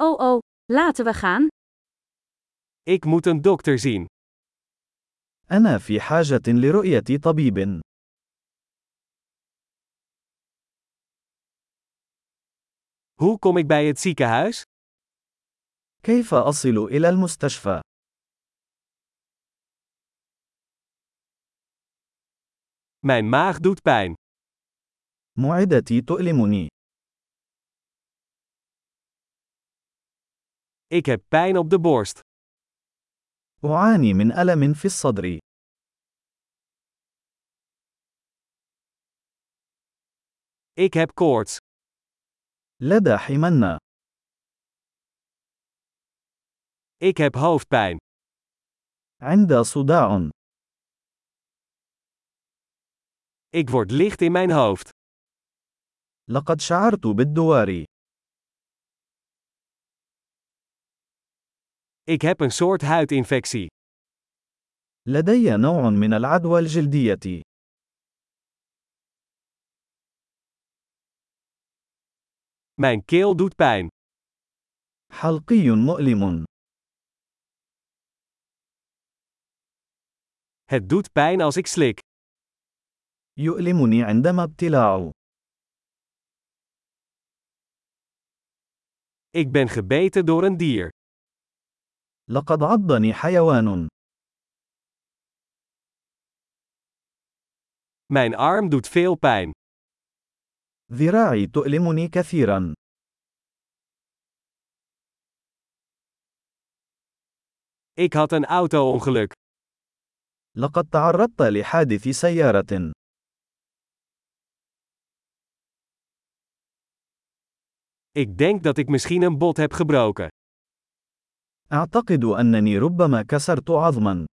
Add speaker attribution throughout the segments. Speaker 1: Oh oh, laten we gaan.
Speaker 2: Ik moet een dokter zien.
Speaker 3: أنا في حاجة لرؤية طبيب.
Speaker 2: Hoe kom ik bij het ziekenhuis?
Speaker 3: كيف أصل إلى المستشفى؟
Speaker 2: Mijn maag doet pijn.
Speaker 3: معدتي تؤلمني.
Speaker 2: Ik heb pijn op de borst.
Speaker 3: أعاني من ألم في الصدر.
Speaker 2: Ik heb koorts.
Speaker 3: لدى حمنة.
Speaker 2: Ik heb hoofdpijn.
Speaker 3: عند صداع.
Speaker 2: Ik word licht in mijn hoofd.
Speaker 3: لقد شعرت بالدوار.
Speaker 2: Ik heb een soort huidinfectie.
Speaker 3: لدي نوع من العدوى الجلدية.
Speaker 2: Mijn keel doet pijn.
Speaker 3: حلقي مؤلم.
Speaker 2: Het doet pijn als ik slik.
Speaker 3: يؤلمني عندما ابتلاع.
Speaker 2: Ik ben gebeten door een dier.
Speaker 3: لقد عضني حيوان.
Speaker 2: Mijn arm doet veel pijn.
Speaker 3: ذراعي تؤلمني كثيرا.
Speaker 2: Ik had een auto-ongeluk.
Speaker 3: لقد تعرضت لحادث سيارة.
Speaker 2: Ik denk dat ik misschien een bot heb gebroken.
Speaker 3: أعتقد أنني ربما كسرت عظما.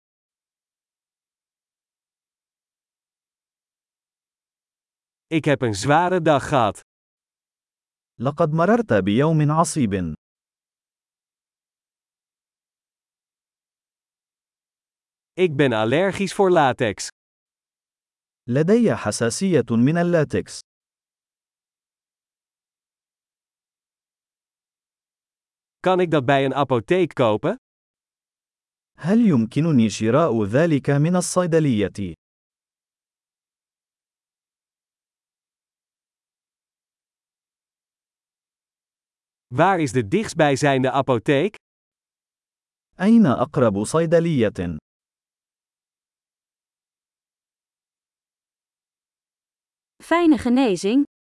Speaker 2: Ik heb een zware dag gehad.
Speaker 3: لقد مررت بيوم عصيب.
Speaker 2: Ik ben allergisch voor latex.
Speaker 3: لدي حساسية من اللاتكس.
Speaker 2: Kan ik dat bij een apotheek kopen?
Speaker 3: هل يمكنني شراء ذلك من الصيدلية؟
Speaker 2: Waar is de dichtstbijzijnde apotheek?
Speaker 3: أين أقرب صيدلية؟
Speaker 1: Fijne genezing.